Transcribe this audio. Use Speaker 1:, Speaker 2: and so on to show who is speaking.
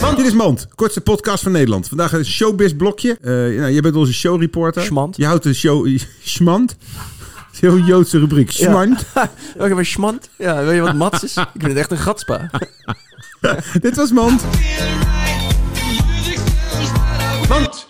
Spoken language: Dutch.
Speaker 1: Mand. Dit is Mand, kortste podcast van Nederland. Vandaag een showbiz blokje. Eh nou, je bent onze showreporter.
Speaker 2: Schmand.
Speaker 1: Je houdt de show... Schmand? Dat is een heel Joodse rubriek. Schmand.
Speaker 2: Wil je wat schmand? Ja, wil je wat mats is? Ik vind het echt een gatspa.
Speaker 1: Dit was Mand.
Speaker 3: Mand.